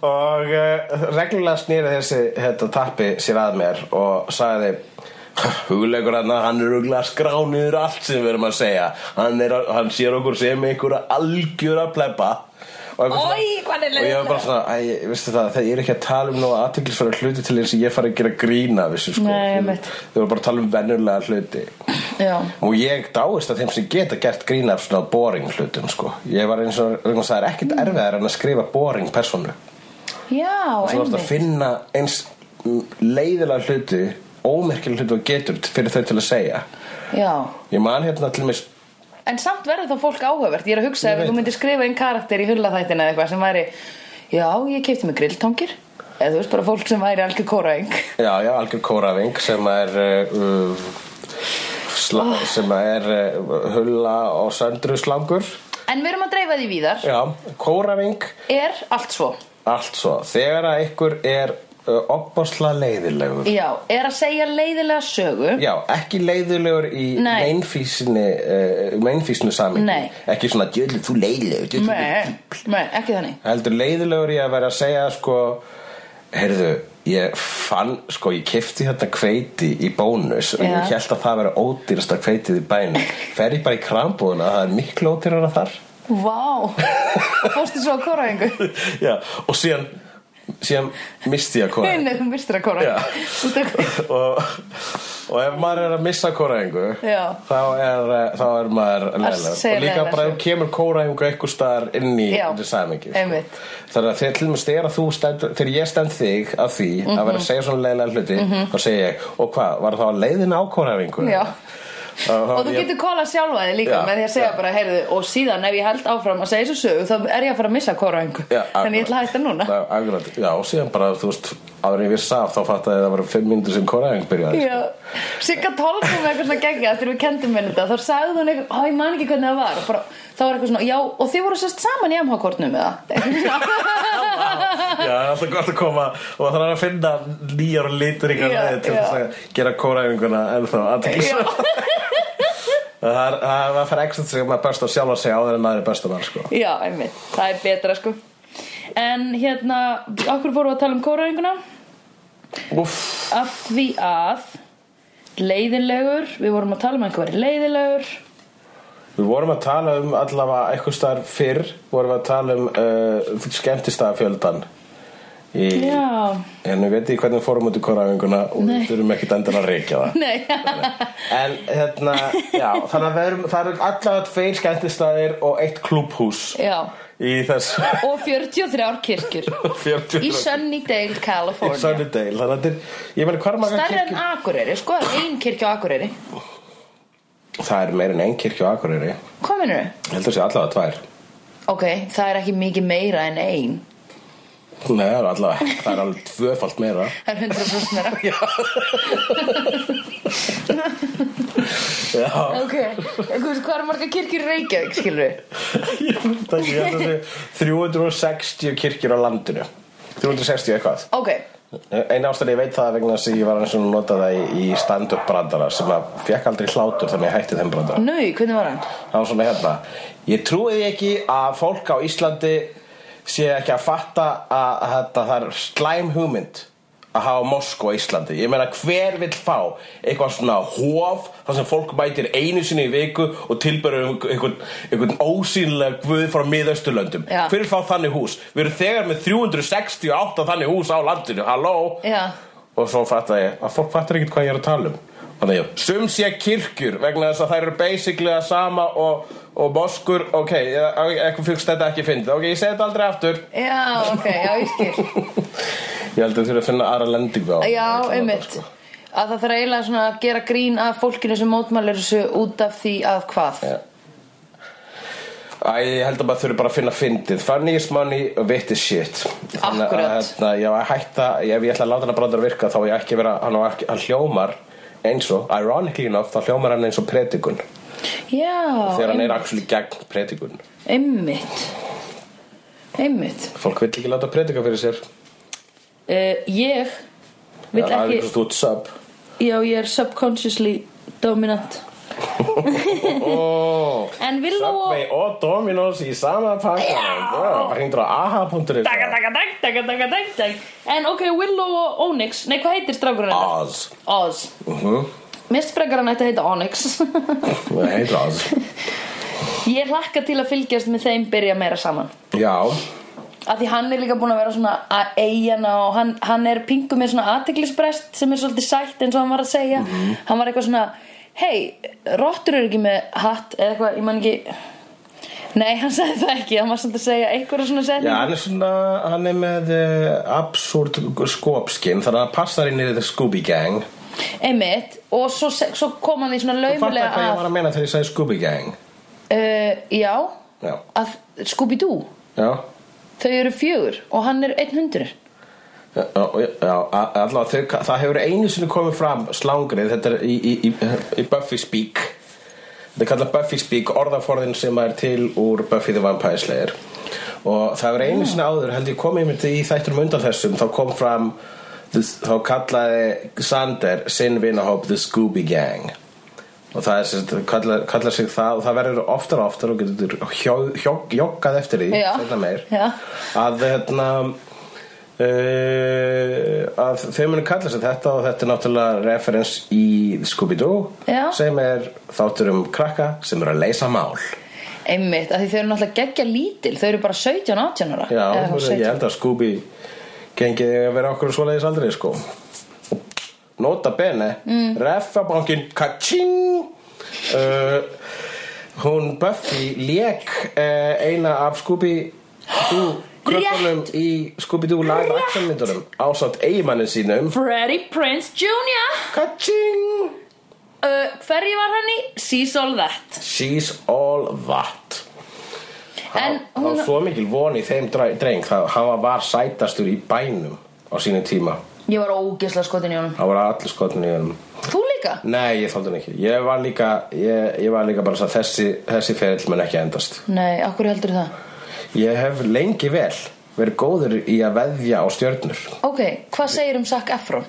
Og uh, reglulega snýri þessi þetta tappi sér að mér og sagði hugleikur hann að hann er huglega skrániður allt sem við erum að segja hann, er, að- hann sér okkur sem einhverja algjöra plebba og, eitthvað svona-
Oj, hvað er
og ég var bara svona, æ, veistu það, þegar ég er ekki að tala um nóga aðteklisfæra hluti til eins og ég fari að gera grína vissu sko,
Nei,
Þú-
einmitt.
þau var bara að tala um vennulega hluti
Já.
og ég dáist að þeim sem geta gert grína af svona boring hlutum sko ég var eins og, vegna þess að það er ekkert erfiðar en að skrifa boring personu
Já,
þú ert að
einmitt.
finna eins leiðilega hluti ómerkilega hluti og getur fyrir þau til að segja
Já.
ég man hérna til mér
En samt verður þá fólk áhugavert Ég er að hugsa
Ég
ef
veit
þú myndir skrifa einn karakter í hullaþættina eða eitthvað sem væri Já, ég kefti mig grilltangir Eða þú veist bara fólk sem væri algjör kóraeng
já, já, algjör kóraving sem er uh, sla,
Ah.
sem er uh, hulla og söndru slangur
En við erum að dreifa því víðar
já, kóraving
Er allt svo
allt svo, þegar að ykkur er uh, opbásla leiðilegur
Já, er að segja leiðilega sögu
Já, ekki leiðilegur í
Nei.
meinfísinu, uh, meinfísinu samingi
Nei.
Ekki svona, djöðlu, þú leiðilegur djöðlu,
Nei, nei, ekki þannig
heldur leiðilegur ég að vera að segja sko, heyrðu ég fann, sko ég kefti þetta kveiti í bónus og
Já.
ég held að það vera ódýrasta kveitið í bænum fer ég bara í krambúðuna, það er miklu ódýrara þar
Vá, fórstu svo að kóraengu
já, og síðan síðan misti ég að kora
Nei, þú mistir að
Já.
kóraeng Út af hvað
og, og ef maður er að missa kóraengu
Já.
þá er, eh, þá er maður leiðilegur
segja
og líka
leiðilega
bara ef
sögu.
kemur kóraengu einhver staðar inn í
Já.
þetta samingi
Einmitt.
þannig að þegar til dæmis þegar, þú stend, þegar ég stend þig að því
Mhm.
að vera að segja svona leiðilega hluti þá segi ég, og hvað, var það leiðin á kóraengu
Já. Og þú getur kólað sjálfa þig líka
Já,
með því að segja
já.
bara, heyrðu, og síðan ef ég held áfram að segja þessu sögu, þá er ég að fara að missa kóraengu. Þannig ég ætla að hætta núna.
Já, akkurat. Já, og síðan bara, þú veist, áður en ég vissi af þá fattaði ég að það var fimm myndir sem kóraeng byrjaði
Já, Sigga tólkum með eitthvað svona geggja þegar við kendum henni þetta, þá sagði hún eitthvað, ó ég man ekki hvernig það var, bara, þá var eitthvað svona, já og þið voru sérst saman í MH-kortnum eða?
Já, það er alltaf gott að koma og það er að finna nýjar og litur ykkur
Já,
leið til
já.
þess að gera kóraenguna ennþá aðteklisverð. Það er- það er að fara exit sem maður best að sjálfa sig áður en aðri besta mann, sko.
já, einmitt, það er betra sko. En hérna, okkur fórum við að tala um kóraenguna?
Úff.
Af því að leiðinlegur, við vorum að tala um að einhver væri leiðinlegur,
Við vorum að tala um allavega eitthvað starf fyrr, vorum við að tala um uh, skemmtistafjöldan í,
já,
en við veitum hvernig við fórum út í korafinguna og
Nei.
við þurfum ekkert endan að reykja það.
nei,
En hérna, já, þannig að það eru, það eru allavega tveir skemmtistaðir og eitt klúbhús
já,
í þessu
og 43 kirkjur
40
í Sunnydale,
Í
California.
Sunnydale, þannig að þetta er, ég meni hvað er maður
Stærri en Akureyri, sko, það er ein kirkja á Akureyri
Það er meira en ein kirkja á Akureyri, ég
Hvað minnur þau?
heldur sé allavega tvær.
Ok, það er ekki mikið meira en ein
Nei, það er allavega, það er alveg tvöfalt meira.
Það er 100% meira
Já.
Ok, þú veist hvað er marga kirkjur í Reykjavík, skilur við?
Ég veit ekki, ég held að það sé 360 kirkjur á landinu 360 eitthvað
Ok,
Einn ástæður ég veit það er vegna þess að ég var eins og nota það í, í stand-up brandara sem að fekk aldrei hlátur þannig að ég hætti þeim brandara
Nau, hvernig var hann?
Það var svona hérna Ég trúi því ekki að fólk á Íslandi sé ekki að fatta að, að þetta það er slæm hugmynd að hafa Moskó á Íslandi Ég meina hver vill fá eitthvað svona hóf þar sem fólk mætir einu sinni í viku og tilbyrður einhvern, einhvern, einhvern ósýnilega guð frá miðausturlöndum
Já.
Hver vill fá þannig hús? Við erum þegar með 368 þannig hús á landinu, halló
Já.
og svo fattaði ég að fólk fattar ekkert hvað ég er að tala um þannig ég, sum sé kirkjur vegna þess að þær eru basically að sama og, og moskur, ok, ég- eitthvað fyrst þetta ekki fyndið, ok, ég segi þetta aldrei aftur
Já, ok, já, ég skil
ég held að þú þurfum að finna aðra lendingu á
Já,
Þetta var
einmitt
sko.
Að það þarf eiginlega svona að gera grín að fólkinu sem mótmælir þessu út af því að hvað
Já. Æ, ég held að maður þurfi bara að finna fyndið Funny is money, wit is shit Þannig að
Akkurat.
hérna, ég var að hætta Ef ég ætla að láta hann brandar virka þá á ég ekki að vera Hann, á ekki, hann hljómar eins og Ironically enough, þá hljómar hann eins og predikun Þegar hann
Já,
er actually gegn predikun
einmitt Einmitt
Fólk vill ekki láta predika fyrir sér
uh, Ég vil
Það er
ekki
eitthvað stútt sub
Já, ég er subconsciously dominant
oh,
En Villó og
Subway og Dominos í sama pakka Það hringdur á aha.is
Daga, daga, dag, daga, daga, dag, dag En ok, Willow og Onyx Nei, hvað heitir strákurinn? hennar?
Oz
Oz
Mhm,
Mist frekar hann ætti að heita Onyx
Það heitir Oz
Ég hlakka til að fylgjast með þeim byrja meira saman
Já,
Af því hann er líka búin að vera svona að eigana og hann, hann er pingu með svona aðteglisbrest sem er svolítið sætt eins og hann var að segja
Mhm.
Hann var eitthvað svona, hei, rottur eru ekki með hatt eða eitthvað, ég man ekki Nei, hann sagði það ekki, hann var svolítið að segja einhverja svona
Já,
setning
hann er svona, hann er með uh, absúrt skopskinn þannig að hann passar inn í þetta Scooby Gang
Einmitt, og svo, se- svo kom hann í svona
Þú fattar
laumulega
hvað ég
að
var að meina þegar ég sagði Scooby Gang
uh, Já,
Já,
að Scooby-Doo,
já,
þau eru fjögur og hann er einn hundur
já, já, já a- allavega þau, það hefur einu sinni komið fram slangrið, þetta er í, í, í, í Buffy Speak Þetta er kallað Buffy Speak, orðaforðin sem er til úr Buffy the Vampire Slayer og það var
Mm.
einu sinni áður held ég komið mitt í þætturum undan þessum þá kom fram, þá kallaði Sander sinn vinahóp The Scooby Gang og það er sérst, kallar, kallar sig það og það verður oftar og oftar og getur hjó- hjó- joggað eftir því
Já.
seinna meir,
Já.
að hérna Uh, að þau munu kalla sig þetta og þetta er náttúrulega referens í Scooby-Doo
Já.
sem er þáttur um krakka sem eru að leysa mál
Einmitt, af því þau eru náttúrulega geggja lítil Þau eru bara 17-18 ára
Já, þú
Eða eitthvað
veist, ég
17.
held að Scooby gengið eiga að vera okkur svoleiðis aldrei sko Nota bene mm. Reffabankin Kaching uh, Hún Buffy lék uh, eina af Scooby Doo krökkunum í Scooby-Doo live action myndunum ásamt eigimannin sínum
Freddie Prince Jr.
Kaching
Uh, hverju var hann í? She's all that
She's all that
En
Það
hún-
var svo mikil von í þeim dra- dreng það, hann var- var sætastur í bænum á sínum tíma
Ég var ógisla skotin í honum
Það voru allir skotnir í honum
Þú líka?
Nei, ég þóldi hann ekki Ég var líka, ég, ég var líka bara svo að þessi, þessi ferill mun ekki endast
Nei, akkur heldur það
Ég hef lengi vel verið góður í að veðja á stjörnur
Ok, hvað segir um Zac Efron?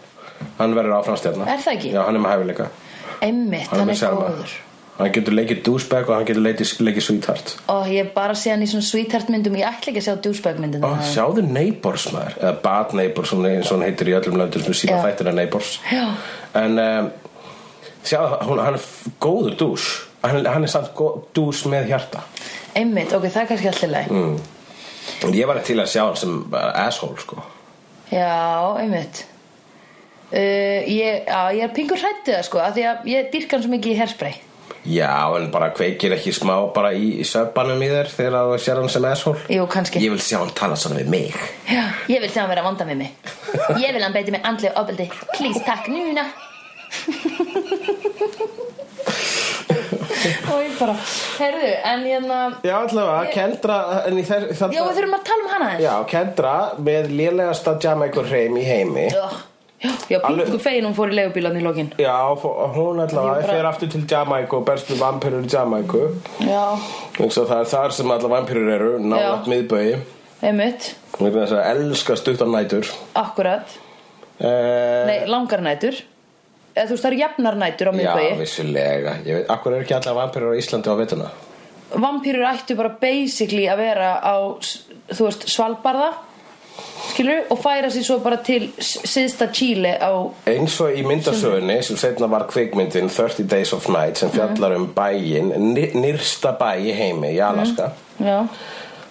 Hann verður áfram stjörna
Er það ekki?
Já, hann er með hæfileika
Einmitt,
Hann
hann
með
er
sjarma.
góður
Hann getur leikið douchebag og hann getur leikið, leikið sweetheart
Og ég er bara sé hann í svona sweetheart myndum Ég ætla ekki að sjá douchebag myndin
Ó, sjáðu Neighbors maður Eða Bad Neighbors, hún, eins og hún heitir í öllum löndum sem sína
Já.
þættina Neighbors
Já.
En um, sjáðu, hún, hann er f- góður douche Hann, hann er samt góð, douche með hjarta
Einmitt, ok, það er kannski allir leið
mm. Ég var til að sjá hann sem bara asshole sko
Já, einmitt uh, ég, á, ég er pingur hrættið það sko af Því að ég dýrka hann svo mikið í herspray
Já, en bara kveikir ekki smá bara í, í söpanum í þér þegar þú sér hann sem asshole
Jú, kannski
Ég vil sjá hann tala svona við mig
Já, ég vil sjá hann vera að vanda með mig Ég vil hann beiti mig andlega ofbeldi Please, takk núna Og ég bara Herðu, en hérna
Já, allavega, Kendra en í þess,
Já, við þurfum að tala um hana
Já, Kendra með lélegasta Jamaica hreim í heimi
þess Já, já
Alveg-
pingu fegin hún fór í leigubílan í lokin
Já, og fó- og hún allavega
Ég bara-
fer aftur til Jamaica og berst við vampirur í Jamaica
Já
og svo það er þar sem alla vampirur eru nálaft
Já.
miðbögi
Einmitt,
og þess að elska stuttan nætur
akkurat
uh,
Nei, langar nætur Eða þú veist, það eru jafnar nætur á
Já,
miðbæi
vissulega Ég veit, akkur eru ekki allar vampirur á Íslandi á vituna
Vampýrur ættu bara basically að vera á, s- þú veist, svalbarða Skilur, og færa sér svo bara til s- syðsta Chile á
Eins og í myndasögunni sem setna var kvikmyndin 30 Days of Night
Mhm.
sem fjallar um bæin, ny- nyrsta bæ í heimi í
Mhm.
Alaska
Já,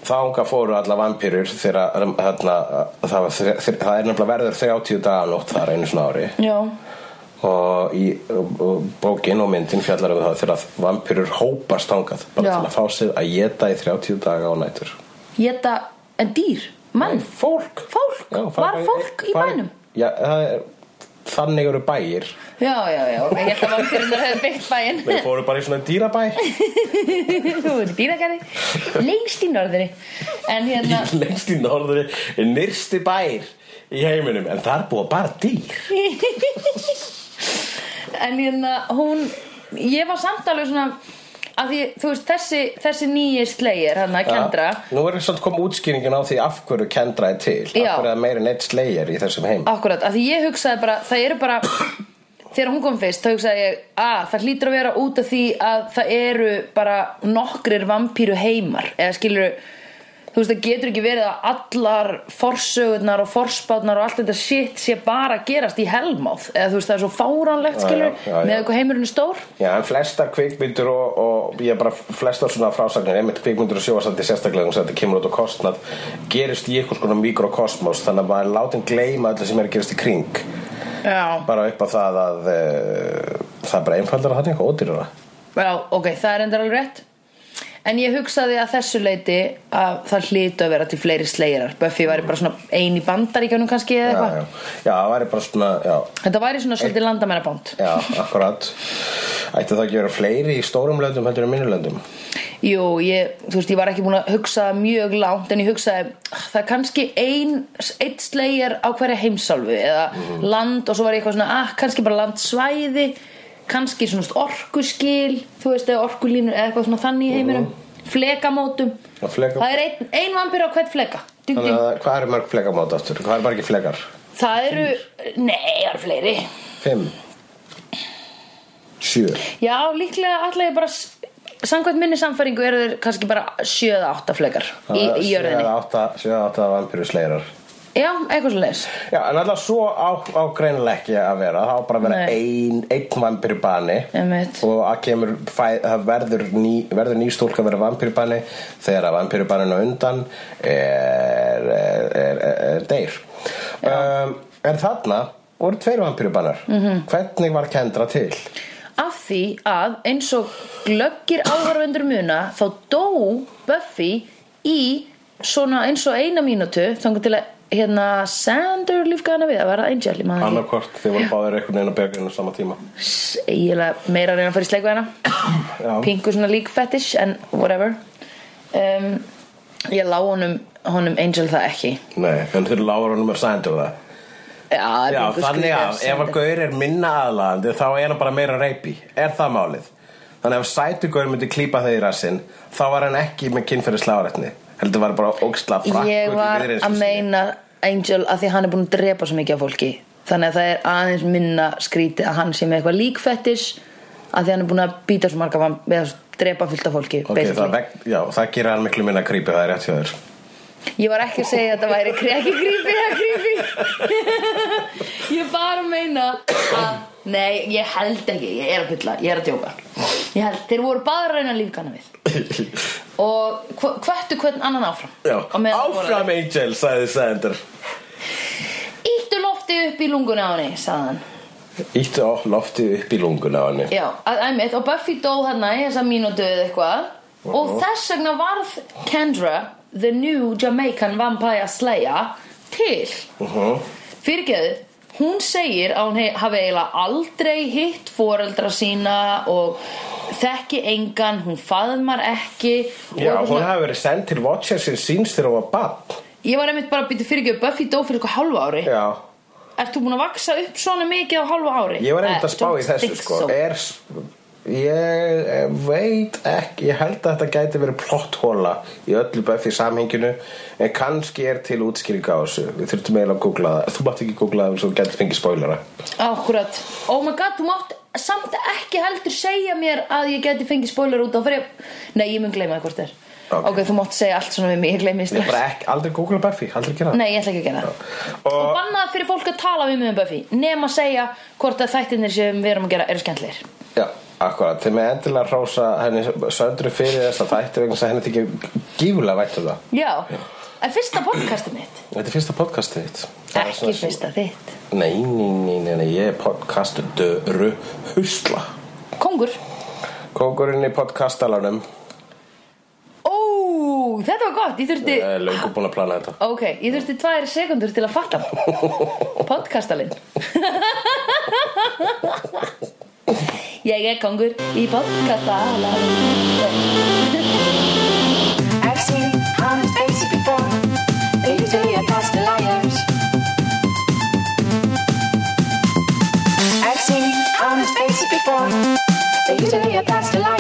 Þanga fóru alla vampýrur þegar um, þarna, það, var, þre- þre- það er nefnilega verður 30 daga nótt þar einu svona ári
já,
og í og- og bókin og myndin fjallar um það þegar vampýrur hópast þangað bara
Já.
til að fá sér að geta í 30 daga og nætur
geta, en dýr, mann
Fólk,
Fólk?
fara
Var
bara
fólk í
fara-
bænum?
Já, það er, þannig eru bæir
Já, já, já, ok, ég held að vampýrunar hefði byggt bæinn
Þeir fóru bara í svona dýrabæ
Þú ert dýragarði Lengst í norðri En hérna
lengst í norðri nyrsti bær í heiminum en það er búið bara dýr
En hérna hún Ég var samt alveg svona að því, þú veist, þessi, þessi nýji slegir hann að kendra
Nú er svolítið kom útskýringin á því af hverju kendra er til
Já.
Af hverju er meira en eitt slegir í þessum heim
Akkurat, að því ég hugsaði bara það eru bara, þegar hún kom fyrst þá hugsaði ég, að það hlýtur að vera út af því að það eru bara nokkrir vampíru heimar eða skilur, þú veist, það getur ekki verið að allar forsögurnar og forspátnar og allt þetta shit sé bara að gerast í helmáð, eða þú veist, það er svo fáránlegt
Já,
skilur,
já, já, já.
með eitthvað heimurinn er stór
Já, en flestar kvikmyndur og, og ég bara flestar svona frásagnir einmitt kvikmyndur og sjóasandi sérstaklega um þess að þetta kemur út á kostnað gerist í eitthvað skona mikrokosmos þannig að maður er látin gleyma öllu sem er að gerast í kring
Já,
bara upp á það að e, það er bara einfaldara þannig og ódýrara
Já, ok, það er endur alveg rétt En ég hugsaði að þessu leiti að það hlýtu að vera til fleiri slegjarar Buffy væri bara svona ein í bandaríkjunum kannski eða
Já,
eitthvað
já, já, það væri bara svona, já,
Þetta væri svona svolítið landamæraband
Já, akkurat Ætti það ekki að vera fleiri í stórum löndum heldur en minni löndum
Jú, ég, þú veist, ég var ekki búin að hugsa mjög langt en ég hugsaði "Ah, það er kannski ein, eitt slegjar á hverja heimsálfu eða
Mhm.
land og svo var ég eitthvað svona ah, kannski bara landsvæði kannski svona orkuskil þú veist, eða orkulínur eða eitthvað svona þannig í
Mhm.
heiminum flekamótum
Já, fleka-
það er ein, ein vampir á hvert fleka ding,
Þannig
ding.
að hvað eru mörg flekamót aftur? Hvað eru margir flekar?
Það eru, nei, það eru fleiri
Fimm Sjö
Já, líklega ætla ég bara Samkvæmt minni samfæringu eru þeir kannski bara 7 eða 8 flekar í, í jörðinni
Sjöða átta, sjöða átta vampiru sleirar
Já, eitthvað svo leis
Já, en alltaf svo á, á greinilega ekki að vera Það á bara að vera
Nei.
ein, einn vampiru bani og að kemur fæ, það verður ný, verður ný stúlka að vera vampirubanni þegar að vampirubannin á undan er, er, er, er, er deyr um, en þarna voru tveir vampirubannar -hmm. hvernig var Kendra til?
Af því að eins og glöggir áhörvendur muna þá dó Buffy í svona eins og eina mínútu þangar til að hérna Sander lífgaði hana við að vera Angel ég maður ekki
annarkvort þeir voru báðir einhvern veginn að bega inn á sama tíma
S- eiginlega meira að reyna að fara í sleik við
Já.
hana pingu svona lík fetish en whatever um, ég lá honum honum Angel það ekki
Nei, en þeir lágur honum að sændur það
já,
Já, þannig
Pingu skrýtið
að ef að gaur er minna aðlaðandi þá er hann bara meira reypi, er það málið Þannig að ef sætu gaur myndi klípa þau í rassinn þá var hann ekki með kynferði slárætni heldur var bara óksla frakkur
ég
í
var
viðreisn sko,
að
sinni.
meina Angel að því hann er búin að drepa svo mikið af fólki þannig að það er aðeins minna skrítið að hann sé með eitthvað lík fetish að því hann er búin að býta svo marga van- eða drepa fullt af fólki
Ok,
basically.
það, veg, já, það gerir hann miklu minna creepy, það er rétt hjá þér
Ég var ekki að segja að þetta væri kre- ekki grípi eða grípi Ég bara meina að Nei, ég held ekki, ég er að bylla, ég er að djóka Ég held, þeir voru bara að reyna að lífgana við Og hv- hvöttu hvern annan áfram
Já,
Á meðan það voru
áfram Angel, sagði Sander
að- Ýttu lofti upp í lunguna á henni, sagði hann
Íttu á lofti upp í lunguna á henni
Já, að- einmitt, og Buffy dó hérna í þessa mínútu eða eitthvað Og þess vegna varð Kendra, the new Jamaican vampire slayer, til
uh -huh.
Fyrirgeðu, hún segir að hún he- hafi eiginlega aldrei hitt foreldra sína og þekki engan, hún faðmar ekki
Já,
og hérna,
hún hafi verið send til Watcher sem síns þegar hún var bann
Ég var einmitt bara að byrja fyrirgeðu, Buffy dó fyrir eitthvað hálfa ári
Já,
Ert þú búin að vaksa upp svona mikið á hálfa ári?
Ég var einmitt
Eh,
að spá í
don't
þessu
think
sko.
so.
er, Ég eh, veit ekki, ég held að þetta gæti verið plotthóla í öllu Buffy samhenginu en kannski er til útskýring á þessu við þurftum eiginlega að googla það þú mátt ekki googla það svo þú gæti fengið spoilera
Akkurat Oh my god, þú mátt samt ekki heldur segja mér að ég geti fengið spoiler út á fyrir Nei, ég mun gleyma það hvort er
Ok.
Ok, þú mátt segja allt svona við mig, ég gleymi
ég
strax
bara ekki, aldrei googla Buffy, aldrei gera það
Nei, ég ætla ekki að gera það Og
og
bannað fyrir fólk að tala við mig um Buffy Nefn að segja hvort að þættinir sem við erum að gera eru skemmtlir
já, akkurat, þeim er endilega hrósa henni söndru fyrir þess að þætti vegna þess að henni þykir gífulega vænt um það
Já, en fyrsta podcastið mitt
þetta er fyrsta podcastið þitt Það er
Ekki
svona sem-
fyrsta þitt
nei, nei, nei, nei, nei, ég er podcastdöru husla
Kongur
kókurinn í podcastalanum
Ó, þetta var gott, ég þurfti
Ég er löngu búin að plana þetta
Ok, ég þurfti tvær sekundur til að fatta Podcastalinn Ég er kongur í podcastalinn
I've seen honest faces before. They usually are past the liars. I've seen honest faces before. They usually are past the liars.